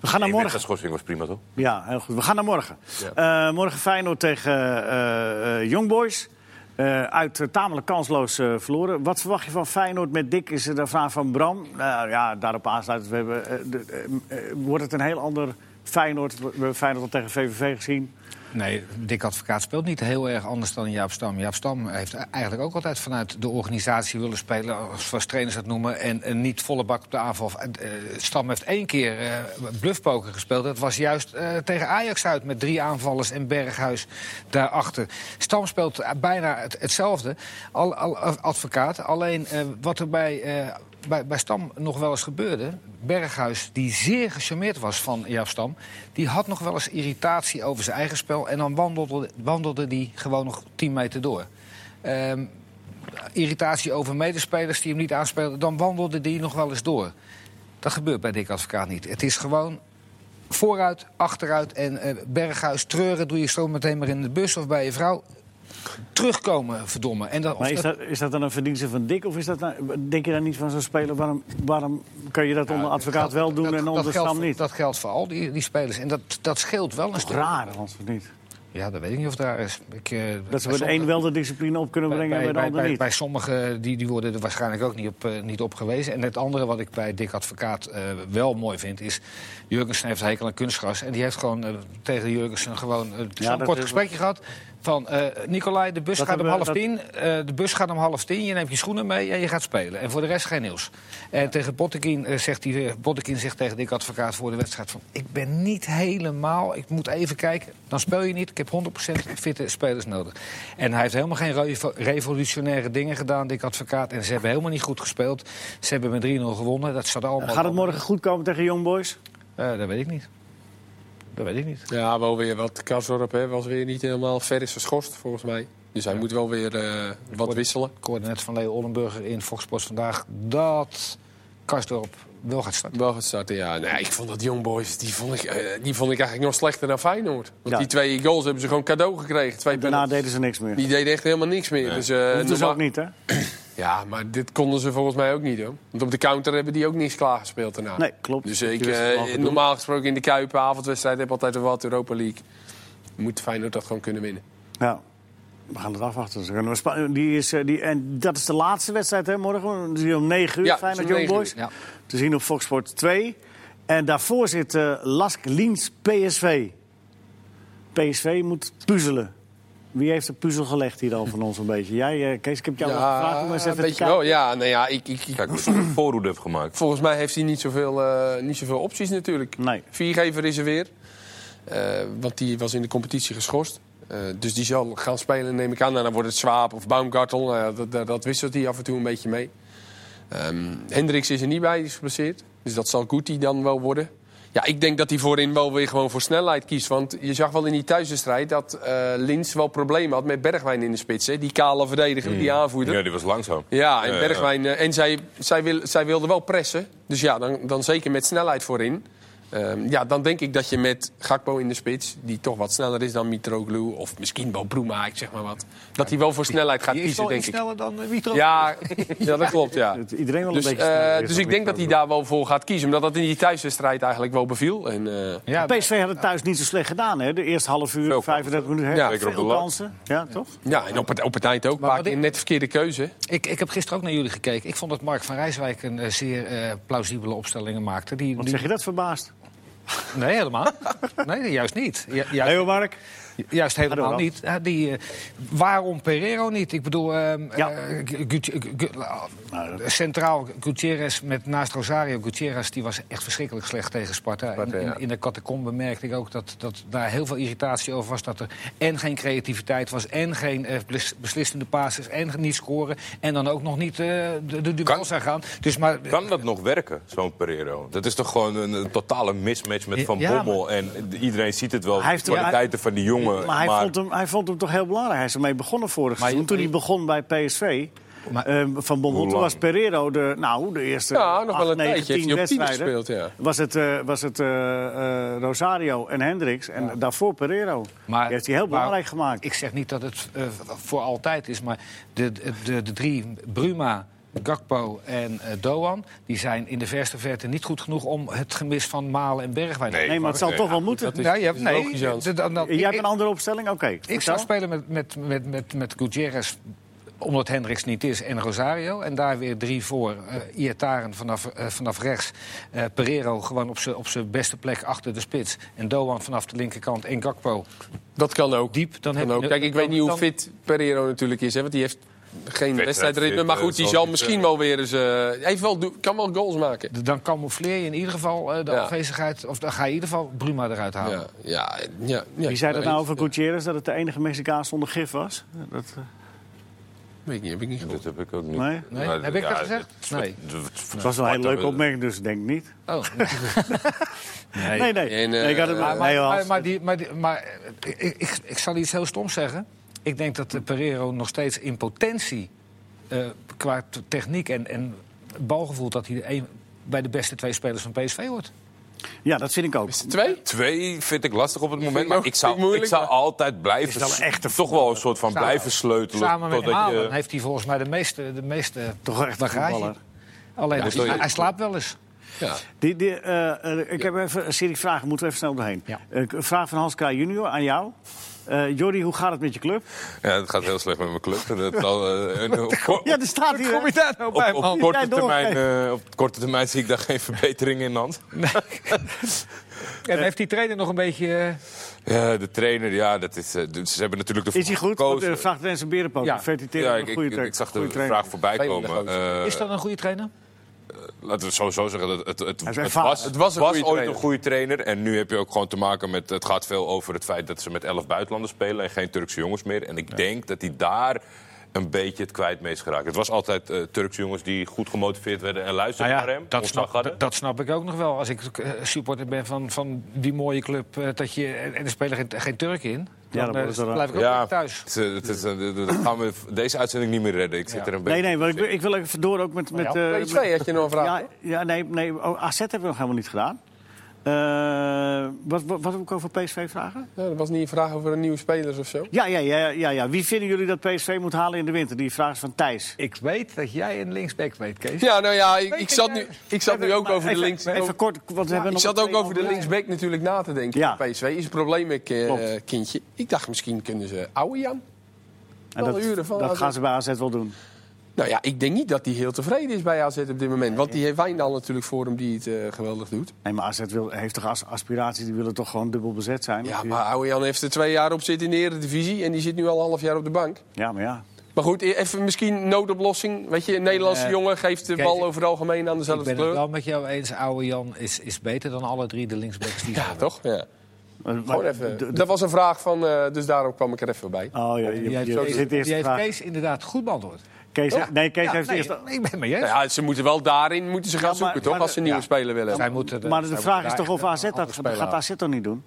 S1: We gaan naar
S4: Nee,
S1: morgen.
S4: schorsing was prima, toch?
S1: Ja, heel goed. We gaan naar morgen. Eh, morgen Feyenoord tegen eh, eh, Young Boys. eh, uit eh, tamelijk kansloos eh, verloren. Wat verwacht je van Feyenoord met Dick? Is er de vraag van Bram? Nou ja, daarop aansluitend. We hebben, eh, de- eh, eh, wordt het een heel ander Feyenoord? We hebben Feyenoord al tegen VVV gezien.
S2: Nee, Dick Advocaat speelt niet heel erg anders dan Jaap Stam. Jaap Stam heeft eigenlijk ook altijd vanuit de organisatie willen spelen, zoals trainers dat noemen, en, en niet volle bak op de aanval. Eh, eh, Stam heeft één keer eh, bluffpoker gespeeld. Dat was juist eh, tegen Ajax uit met drie aanvallers en Berghuis daarachter. Stam speelt eh, bijna het- hetzelfde, al, al, eh, advocaat. Alleen eh, wat er bij, eh, bij, bij Stam nog wel eens gebeurde. Berghuis, die zeer gecharmeerd was van Jaap Stam, die had nog wel eens irritatie over zijn eigen spel. En dan wandelde, wandelde die gewoon nog 10 meter door. Ehm, irritatie over medespelers die hem niet aanspelen, dan wandelde die nog wel eens door. Dat gebeurt bij Dick Advocaat niet. Het is gewoon vooruit, achteruit en eh, Berghuis treuren doe je zo meteen maar in de bus of bij je vrouw. Terugkomen, verdomme. En dan, of
S1: Maar is
S2: dat-
S1: dat, is dat dan een verdienste van Dick? Of is dat nou- denk je dan niet van zo'n speler? Waarom, waarom kan je dat onder advocaat
S2: Dat-
S1: wel doen
S2: dat-
S1: en
S2: dat
S1: onder
S2: geldt
S1: Stam
S2: voor-
S1: niet?
S2: Dat geldt voor al die, die spelers. En dat, dat scheelt wel een stuk.
S1: Raar, want niet.
S2: Ja, dat weet ik niet of daar is. Ik,
S1: Dat ze
S2: eh, bij
S1: bij de een
S2: sommige-
S1: wel de discipline op kunnen brengen en bij de ander
S2: bij,
S1: niet.
S2: bij sommigen die, die worden er waarschijnlijk ook niet op, eh, niet op gewezen. En het andere wat ik bij Dick Advocaat eh, wel mooi vind is... Jurgensen heeft een hekel aan kunstgras. En die heeft gewoon eh, tegen Jurgensen gewoon eh,
S1: dat
S2: zo'n kort
S1: is-
S2: gesprekje gehad... van eh, Nicolai, de bus
S1: Dat
S2: gaat om half
S1: hebben we-
S2: tien. eh, de bus gaat om half tien, je neemt je schoenen mee en je gaat spelen. En voor de rest geen nieuws. En tegen Bottekin eh, zegt, die, eh, Bottekin zegt tegen Dick Advocaat voor de wedstrijd... van ik ben niet helemaal, ik moet even kijken. Dan speel je niet, ik heb 100% fitte spelers nodig. En hij heeft helemaal geen revo- revolutionaire dingen gedaan, Dick Advocaat. En ze hebben helemaal niet goed gespeeld. Ze hebben met 3-0 gewonnen, dat zat allemaal...
S1: Gaat het morgen goed komen tegen Young Boys?
S2: Eh, dat weet ik niet. Dat weet ik niet.
S3: Ja, wel weer wat Kazorp hè, was weer niet helemaal ver is geschorst volgens mij. Dus hij moet wel weer eh, wat wisselen.
S2: Ik hoorde net van Leo Ollenburger in Fox Sports vandaag... dat Karsdorp wel gaat starten.
S3: Wel gaat starten, ja. Nee, ik vond dat Young Boys, die vond ik, eh, die vond ik eigenlijk nog slechter dan Feyenoord. Want
S1: Ja.
S3: die twee goals hebben ze gewoon cadeau gekregen. Twee
S1: Daarna
S3: punten.
S1: deden ze niks meer.
S3: Die deden echt helemaal niks meer. Dus, eh,
S1: Dat is
S3: normaal-
S1: ook niet, hè?
S3: Ja, maar dit konden ze volgens mij ook niet hoor. Want op de counter hebben die ook niks klaargespeeld daarna.
S1: Nee, klopt.
S3: Dus ik,
S1: Die wisten
S3: eh,
S1: het al te doen.
S3: normaal gesproken in de Kuip, avondwedstrijd, heb altijd een wat Europa League. Moet Feyenoord dat gewoon kunnen winnen.
S1: Ja. We gaan het afwachten. Ze kunnen we Spa- Die is, eh, die, en dat is de laatste wedstrijd, hè, morgen? Die is om 9 uur,
S3: Ja,
S1: Feyenoord
S3: is om
S1: Young
S3: 9
S1: Boys.
S3: uur,
S2: ja.
S1: Te zien op Fox Sport 2. En daarvoor zit eh, Lask Liens PSV. PSV moet puzzelen. Wie heeft de puzzel gelegd hier al van ons een beetje? Jij, eh, Kees, ik heb jou al gevraagd om eens even
S3: Ah, weet
S1: te
S3: je wel.
S1: kijken.
S3: Ja, nou ja, ik, ik, ik-
S4: Kijk, dus een voorhoede heb gemaakt.
S3: volgens mij heeft hij niet zoveel, eh, niet zoveel opties natuurlijk.
S1: Nee.
S3: Viergever is er weer. Eh, want die was in de competitie geschorst. Eh, dus die zal gaan spelen, neem ik aan. En dan wordt het Swaap of Baumgartel. Nou ja, dat, dat, dat wisselt hij af en toe een beetje mee. Ehm Hendricks is er niet bij, die is geblesseerd. Dus dat zal Guti dan wel worden. Ja, ik denk dat hij voorin wel weer gewoon voor snelheid kiest. Want je zag wel in die thuiswedstrijd dat eh Lins wel problemen had met Bergwijn in de spits. Hè? Die kale verdediger, die aanvoerder.
S4: Ja, die was langzaam.
S3: Ja, en
S4: Ja,
S3: Bergwijn. eh, En zij, zij, wil, zij wilde wel pressen. Dus ja, dan, dan zeker met snelheid voorin. Ehm, ja, dan denk ik dat je met Gakpo in de spits, die toch wat sneller is dan Mitroglou... of misschien wel Bruma, ik zeg maar wat... dat hij wel voor snelheid gaat
S2: Die is
S3: kiezen,
S2: wel
S3: denk
S2: iets
S3: ik.
S2: sneller dan eh, Witro.
S3: Ja, ja, dat klopt, ja.
S1: Het- Iedereen wel
S3: Dus,
S1: een beetje
S3: eh,
S1: sneller is
S3: dus
S1: dan
S3: ik denk dat hij daar wel voor gaat kiezen. Omdat dat in die thuiswedstrijd eigenlijk wel beviel. En, eh,
S2: Ja,
S1: PSV had het thuis niet zo slecht gedaan, hè? De eerste half uur,
S4: Veel
S1: 35 minuten.
S3: Ja,
S1: Ja,
S4: zeker op de
S1: veel
S4: lat.
S1: kansen. Ja, toch?
S3: ja, en op het, op het eind ook. Maar
S2: wat ik-
S3: net de verkeerde keuze.
S2: ik, ik heb gisteren ook naar jullie gekeken. Ik vond dat Mark van Rijswijk een eh, zeer eh, plausibele opstelling maakte. Die,
S1: Wat
S2: die-
S1: zeg je dat verbaasd?
S2: Nee, helemaal. nee, juist niet. Ju- juist,
S1: Leo Mark?
S2: juist helemaal
S1: Ga door,
S2: niet. Eh, die, eh, waarom Pereiro niet? Ik bedoel, ehm,
S1: Ja.
S2: eh, Gu- Gu- Gu- Gu- nou, dat- centraal Gutierrez met naast Rosario Gutierrez... die was echt verschrikkelijk slecht tegen Sparta. In, in, in de catacombe merkte ik ook dat, dat daar heel veel irritatie over was... dat er en geen creativiteit was, en geen eh, bes- beslissende passes... en niet scoren, en dan ook nog niet eh, de, de duels aan gaan. Dus maar...
S4: eh, Kan dat nog werken, zo'n Pereiro? Dat is toch gewoon een, een totale mismatch met Van
S2: Ja, maar-
S4: Bommel. En iedereen ziet het wel,
S1: Hij
S4: de
S1: heeft- ja,
S4: kwaliteiten van die jongen.
S1: Maar hij, Vond hem, hij vond hem toch heel belangrijk. Hij is ermee begonnen vorig
S2: Maar je-
S1: seizoen. Toen hij begon bij PSV
S2: Maar-
S1: eh, van Bommel,
S4: Hoe
S1: toen
S4: lang?
S1: was Pereiro de, nou, de eerste
S3: Ja, nog
S1: acht,
S3: wel een
S1: negen,
S3: tijdje. Heeft
S1: tien
S3: hij op tien
S1: wedstrijden.
S3: gespeeld, ja.
S1: Was het, eh, was het eh, eh, Rosario en Hendricks en daarvoor Pereiro.
S2: Maar-
S1: die heeft hij heel
S2: maar-
S1: belangrijk gemaakt.
S2: Ik zeg niet dat het eh, voor altijd is, maar de, de, de, de drie, Bruma, Gakpo en eh, Doan... die zijn in de verste verte niet goed genoeg om het gemis van Malen en Bergwijn...
S4: Nee.
S1: Nee, maar het zal
S4: Nee,
S1: toch wel moeten.
S3: is-
S2: Nou, ja,
S3: dat is
S2: nee,
S3: logisch, Jans.
S2: d- dan- dan-
S1: Jij
S2: ik-
S1: hebt een andere opstelling? Oké.
S2: Ik
S1: vertel.
S2: zou spelen met, met, met, met, met Gutierrez, omdat Hendricks niet is, en Rosario. En daar weer drie voor. eh Iataren vanaf, eh, vanaf rechts. eh Pereiro gewoon op zijn op zijn beste plek achter de spits. En Doan vanaf de linkerkant. En Gakpo.
S3: Dat kan ook.
S2: Diep, dan
S3: Kan
S2: heb je-
S3: ook. Kijk, ik weet niet hoe
S2: dan-
S3: fit Pereiro natuurlijk is, hè, want die heeft geen wedstrijdritme.
S4: fit,
S3: Maar
S4: eh,
S3: goed, die
S4: zal
S3: zal
S4: niet,
S3: misschien
S4: eh,
S3: wel weer eens. eh, hij heeft wel, do- kan wel goals maken.
S2: D- Dan camoufleer je in ieder geval eh, de
S3: Ja.
S2: afwezigheid. Of dan ga je in ieder geval Bruma eruit halen.
S3: Ja, ja, ja, ja.
S1: Wie zei dat nou over
S3: Ja,
S1: Gutierrez, dat het de enige Mexicaan zonder gif was? Dat, eh,
S3: Weet ik niet, heb ik niet gehoord.
S4: Dat heb ik ook niet.
S1: Nee?
S2: Nee?
S4: Maar,
S2: Heb ik dat
S4: ja,
S2: gezegd? Nee.
S1: het was wel een hele leuke
S4: Sparta-
S1: opmerking, dus ik denk niet.
S2: Oh.
S1: Nee, nee.
S3: En, eh,
S1: nee ik had het
S3: maar-
S1: maar,
S2: Maar,
S1: nee,
S2: maar,
S1: Hans.
S2: maar, die, maar, die- maar eh, ik, ik, ik zal iets heel stoms zeggen. Ik denk dat eh, Pereiro nog steeds in potentie, eh, qua t- techniek en, en balgevoel, dat hij de een- bij de beste twee spelers van PSV hoort.
S1: Ja, dat vind ik ook.
S3: Is het twee?
S4: Twee vind ik lastig op het moment,
S3: nog-
S4: maar ik zou,
S3: vind ik moeilijk,
S4: ik zou
S3: maar-
S4: altijd blijven...
S1: wel echt een
S4: toch wel een soort van
S2: Samen-
S4: blijven sleutelen.
S2: Samen met
S4: totdat
S2: Malen
S4: je,
S2: heeft hij volgens mij de meeste, de meeste
S1: Toch echt een
S2: bagage.
S1: voetballer.
S2: Alleen
S4: Ja,
S2: hij-
S4: dus sorry.
S2: hij, hij slaapt wel eens.
S3: Ja.
S1: Die, die, eh, eh, ik heb even een serie vragen, moeten we even snel doorheen.
S2: Ja.
S1: Eh, een vraag van Hans Kraaij junior aan jou. Eh Jordi, hoe gaat het met je club?
S4: ja, het gaat heel slecht met mijn club. Dat zal, eh, een- op,
S1: Ja, er staat hier. hè?
S2: daar nou
S4: op, op korte
S1: Jij door,
S4: termijn, eh, op korte termijn zie ik daar geen verbetering in, Hans.
S2: En heeft die trainer nog een beetje... eh,
S4: Ja, de trainer, ja, dat is, eh, dus ze hebben natuurlijk ervoor
S1: Is hij goed? Want,
S4: gekozen.
S1: eh, vraagt Dennis een berenpoot.
S2: Ja.
S1: Feliciteer
S4: ja,
S1: met
S4: ik,
S1: een
S4: ik,
S1: goede tra-
S4: ik zag de
S1: goede trainer.
S4: vraag voorbij
S3: Trainer
S4: komen. eh,
S2: is dat een goede trainer?
S4: Laten we het sowieso zeggen, dat het, het,
S1: is
S4: het,
S1: ervaren.
S4: was,
S3: Het was een goede
S4: ooit
S3: trainer.
S4: een goede trainer. En nu heb je ook gewoon te maken met... Het gaat veel over het feit dat ze met elf buitenlanders spelen... en geen Turkse jongens meer. En ik denk dat hij daar een beetje het kwijt mee is geraakt. Het was altijd eh, Turkse jongens die goed gemotiveerd werden... en luisterden naar hem,
S2: Nou dat,
S4: ontslag
S2: snap,
S4: hadden.
S2: dat, dat snap ik ook nog wel. Als ik eh, supporter ben van, van die mooie club, eh, dat je, en en er spelen geen, geen Turk in,
S1: dan
S2: dan, eh,
S1: worden ze raar.
S2: blijf ik ook
S4: ja,
S2: lekker thuis.
S4: het is, eh, het is, eh, dat gaan we deze uitzending niet meer redden. Ik zit
S2: Ja.
S4: er een beetje...
S1: Nee, nee, want ik, wil- ik wil even door ook met... met, eh,
S3: Twee,
S1: met-
S3: twee had je nog een vraag.
S1: ja, ja, nee, nee oh, AZ hebben we nog helemaal niet gedaan. Eh, wat, wat, wat wil ik over PSV vragen?
S3: Ja, dat was niet een vraag over nieuwe spelers of zo.
S1: Ja, ja, ja, ja, ja. Wie vinden jullie dat PSV moet halen in de winter? Die vraag is van Thijs.
S2: Ik weet dat jij een linksback weet, Kees.
S3: Ja, nou ja, ik,
S2: Weet
S3: ik
S2: je,
S3: zat
S2: ja.
S3: nu, ik zat nu ook
S1: Even-
S3: over de
S1: even-
S3: links.
S1: Even kort, want we hebben
S3: Ik
S1: nog
S3: zat
S1: twee
S3: ook over de
S1: andere-
S3: linksback natuurlijk na te denken.
S1: Ja.
S3: Ja. PSV is een probleem, ik, eh,
S1: Klopt.
S3: kindje. Ik dacht misschien kunnen ze oude Jan.
S1: En
S3: Alle uren van
S1: dat
S3: AZ.
S1: gaan ze bij AZ wel doen.
S3: Nou ja, ik denk niet dat hij heel tevreden is bij AZ op dit moment. Want die heeft Wijndal natuurlijk voor hem die het eh, geweldig doet.
S1: Nee, maar AZ wil, heeft toch as- aspiraties, die willen toch gewoon dubbel bezet zijn?
S3: Ja, maar oude Jan heeft er twee jaar op zitten in de Eredivisie. En die zit nu al een half jaar op de bank.
S1: ja, maar ja.
S3: Maar goed, e- even misschien noodoplossing. Weet je, een Nederlandse
S2: Eh,
S3: jongen geeft de
S2: Kees,
S3: bal over het algemeen aan
S2: Ik
S3: dezelfde
S2: ben het
S3: kleur.
S2: wel met jou eens, oude Jan is, is beter dan alle drie de linksbacks die
S3: Ja, toch? Ja.
S1: Maar-
S3: Gewoon
S1: maar-
S3: even.
S1: d- d-
S3: Dat was een vraag van, eh, dus daarom kwam ik er even bij.
S1: Oh ja, je,
S2: Die heeft,
S1: je- je
S2: Kees-
S1: zit eerst
S2: die heeft
S1: vraag. Kees,
S2: Kees inderdaad goed beantwoord.
S1: nee, Kees
S2: Ja,
S1: heeft
S2: nee,
S1: eerst...
S2: Ik ben het mee eens.
S3: Nou ja, ze moeten wel daarin moeten ze gaan
S1: Ja, maar-
S3: zoeken, toch?
S1: maar-
S3: als ze een nieuwe
S1: ja.
S3: speler willen.
S2: Zij moeten
S1: Maar de
S2: zij
S1: vraag is
S2: moeten
S1: toch
S2: daar
S1: of AZ
S2: een
S1: dat
S2: andere speler
S1: gaat
S2: halen.
S1: AZ toch niet doen?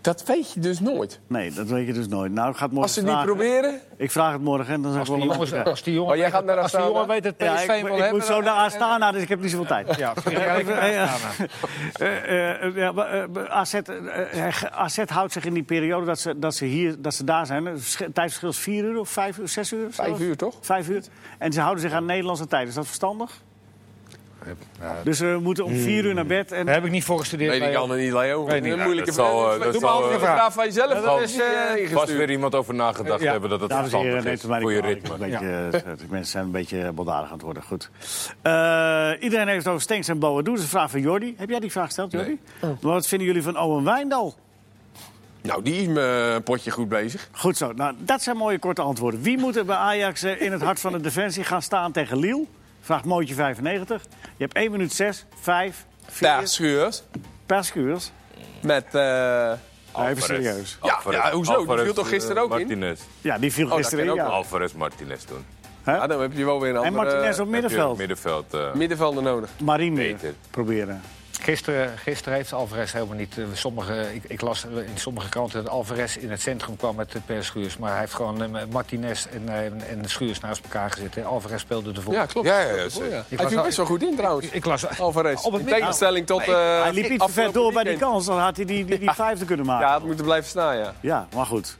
S3: Dat weet je dus nooit.
S1: Nee, dat weet je dus nooit. Nou, ik ga het morgen
S3: Als ze het niet
S1: vragen.
S3: proberen...
S1: Ik vraag het morgen en dan zeg
S2: Als
S1: ik wel
S2: die
S1: een
S2: jongens-
S1: antwoord.
S2: Als die jongen,
S3: Oh, jij gaat naar
S2: als die
S3: Astana?
S2: jongen weet dat PSV
S1: Ja, ik,
S2: hem
S1: ik
S2: wil hebben...
S1: moet zo
S2: dan-
S1: naar Astana, dus ik heb niet zoveel tijd.
S2: Ja, ja,
S1: Even,
S2: ja,
S1: eh, eh, eh, ja, maar, eh, AZ, eh, eh, AZ houdt zich in die periode dat ze, dat ze, hier, dat ze daar zijn. Het versch- tijdverschil is vier uur of vijf uur, zes uur?
S3: Vijf
S1: zelfs?
S3: uur, toch?
S1: Vijf uur. En ze houden zich aan Nederlandse tijd. Is dat verstandig?
S4: Eh,
S1: Dus we moeten om vier uur naar bed. En,
S2: Daar heb ik niet voor gestudeerd.
S3: Weet ik
S2: Leo.
S3: allemaal niet, Leo.
S2: Weet niet.
S3: Een moeilijke
S4: Ja, dat zal, eh,
S3: vraag.
S4: dat zal,
S3: Doe maar altijd een
S4: eh,
S3: vraag van jezelf.
S4: zal-
S3: Dat is eh,
S4: Was
S3: ingestuurd.
S4: weer iemand over nagedacht
S2: Ja.
S4: hebben dat het
S1: Dames en heren,
S4: verstandig
S1: neemt
S4: is.
S1: u mij
S4: Voor je
S1: niet kwalijk.
S4: ritme.
S1: Een beetje, eh, de mensen zijn een beetje baldadig aan het worden. Goed. Eh, iedereen heeft het over Stenks en Boa. Doe eens een vraag van Jordi. Heb jij die vraag gesteld, Jordi? Maar Wat vinden jullie van Owen Wijndal?
S3: Nou, die is mijn potje goed bezig.
S1: Goed zo. Nou, dat zijn mooie korte antwoorden. Wie moet er bij Ajax eh, in het hart van de defensie gaan staan tegen Liel? Vraagt Mootje 95. Je hebt 1 minuut 6, 5, 4
S3: Daar schuurs.
S1: perskuurs.
S3: Met... eh,
S1: Even serieus.
S3: Ja, ja, hoezo? Die viel toch gisteren ook in?
S4: eh, Martinez.
S1: Ja, die viel
S3: dat
S1: gisteren in.
S3: kan ook
S1: ja.
S4: Alvarez Martinez toen.
S3: ah, dan heb je wel weer een
S1: En
S3: andere
S1: Martinez op
S3: eh,
S1: middenveld.
S4: Middenveld. eh,
S3: middenvelder nodig.
S1: Marien weer
S4: Beter.
S1: proberen.
S2: Gisteren, gisteren heeft Alvarez helemaal niet. eh, Sommige, ik, ik las eh, in sommige kranten dat Alvarez in het centrum kwam met de Per Schuurs. Maar hij heeft gewoon eh, Martinez en, eh, en- en Schuurs naast elkaar gezeten. Alvarez speelde ervoor.
S3: Ja, klopt.
S4: Ja, ja, ja,
S3: Dat is wel,
S4: zeker.
S2: Ik
S3: Hij
S2: was
S3: viel
S2: al-
S3: best wel goed in trouwens.
S2: Ik, ik las
S3: Alvarez.
S2: Op het
S3: in
S2: midden-
S3: tegenstelling tot...
S2: Nee,
S3: eh,
S1: Hij liep iets te ver
S3: afgelopen
S1: door bij die
S3: weekend.
S1: kans. Dan had hij die, die, die vijfde kunnen maken.
S3: Ja, het moet er blijven staan, ja.
S1: Ja, maar goed.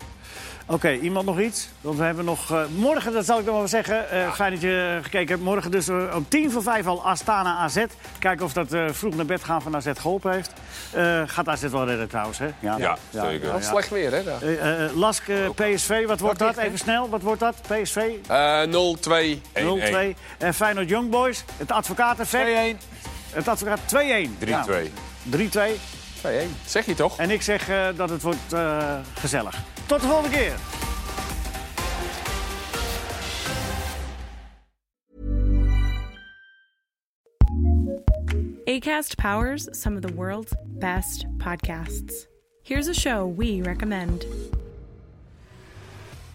S1: Oké, iemand nog iets? Want we hebben nog... eh, morgen, dat zal ik nog wel zeggen. eh, Fijn dat je gekeken hebt. Morgen dus eh, om tien voor vijf al Astana AZ. Kijken of dat eh, vroeg naar bed gaan van AZ geholpen heeft. Eh, gaat AZ wel redden trouwens, hè?
S4: Ja, zeker.
S3: Wat slecht weer, hè? daar.
S1: Eh, eh, Lask, eh, PSV, wat wordt dat? Even snel, wat wordt dat? PSV 0-2.
S3: Eh
S4: 1-1.
S3: 0-2.
S1: En Feyenoord Young Boys, het advocaat-effect.
S2: 2-1.
S1: Het advocaat 2-1.
S4: 3-2.
S1: Ja, 3-2.
S3: 2-1. Zeg je toch?
S1: En ik zeg eh, dat het wordt eh, gezellig. Tot de volgende keer.
S5: ACAST powers some of the world's best podcasts. Here's a show we recommend.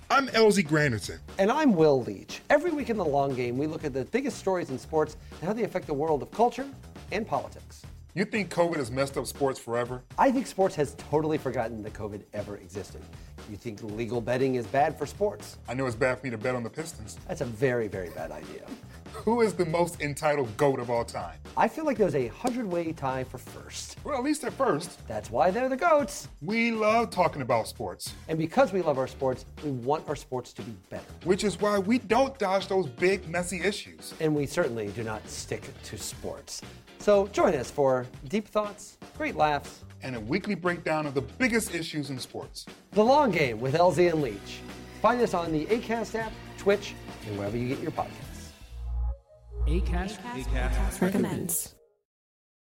S6: I'm Elsie Granderson.
S7: And I'm Will Leach. Every week in the long game, we look at the biggest stories in sports and how they affect the world of culture and politics.
S6: You think COVID has messed up sports forever?
S7: I think sports has totally forgotten that COVID ever existed. You think legal betting is bad for sports?
S6: I know it's bad for me to bet on the Pistons.
S7: That's a very, very bad idea.
S6: Who is the most entitled GOAT of all time?
S7: I feel like there's a hundred way tie for first.
S6: Well, at least at first,
S7: That's why they're the GOATs.
S6: we love talking about sports,
S7: And because we love our sports, we want our sports to be better.
S6: which is why we don't dodge those big, messy issues.
S7: And we certainly do not stick to sports. So join us for deep thoughts, great laughs,
S6: And a weekly breakdown of the biggest issues in sports.
S7: The Long Game with LZ and Leach. Find us on the ACAST app, Twitch, and wherever you get your podcasts.
S5: ACAST recommends.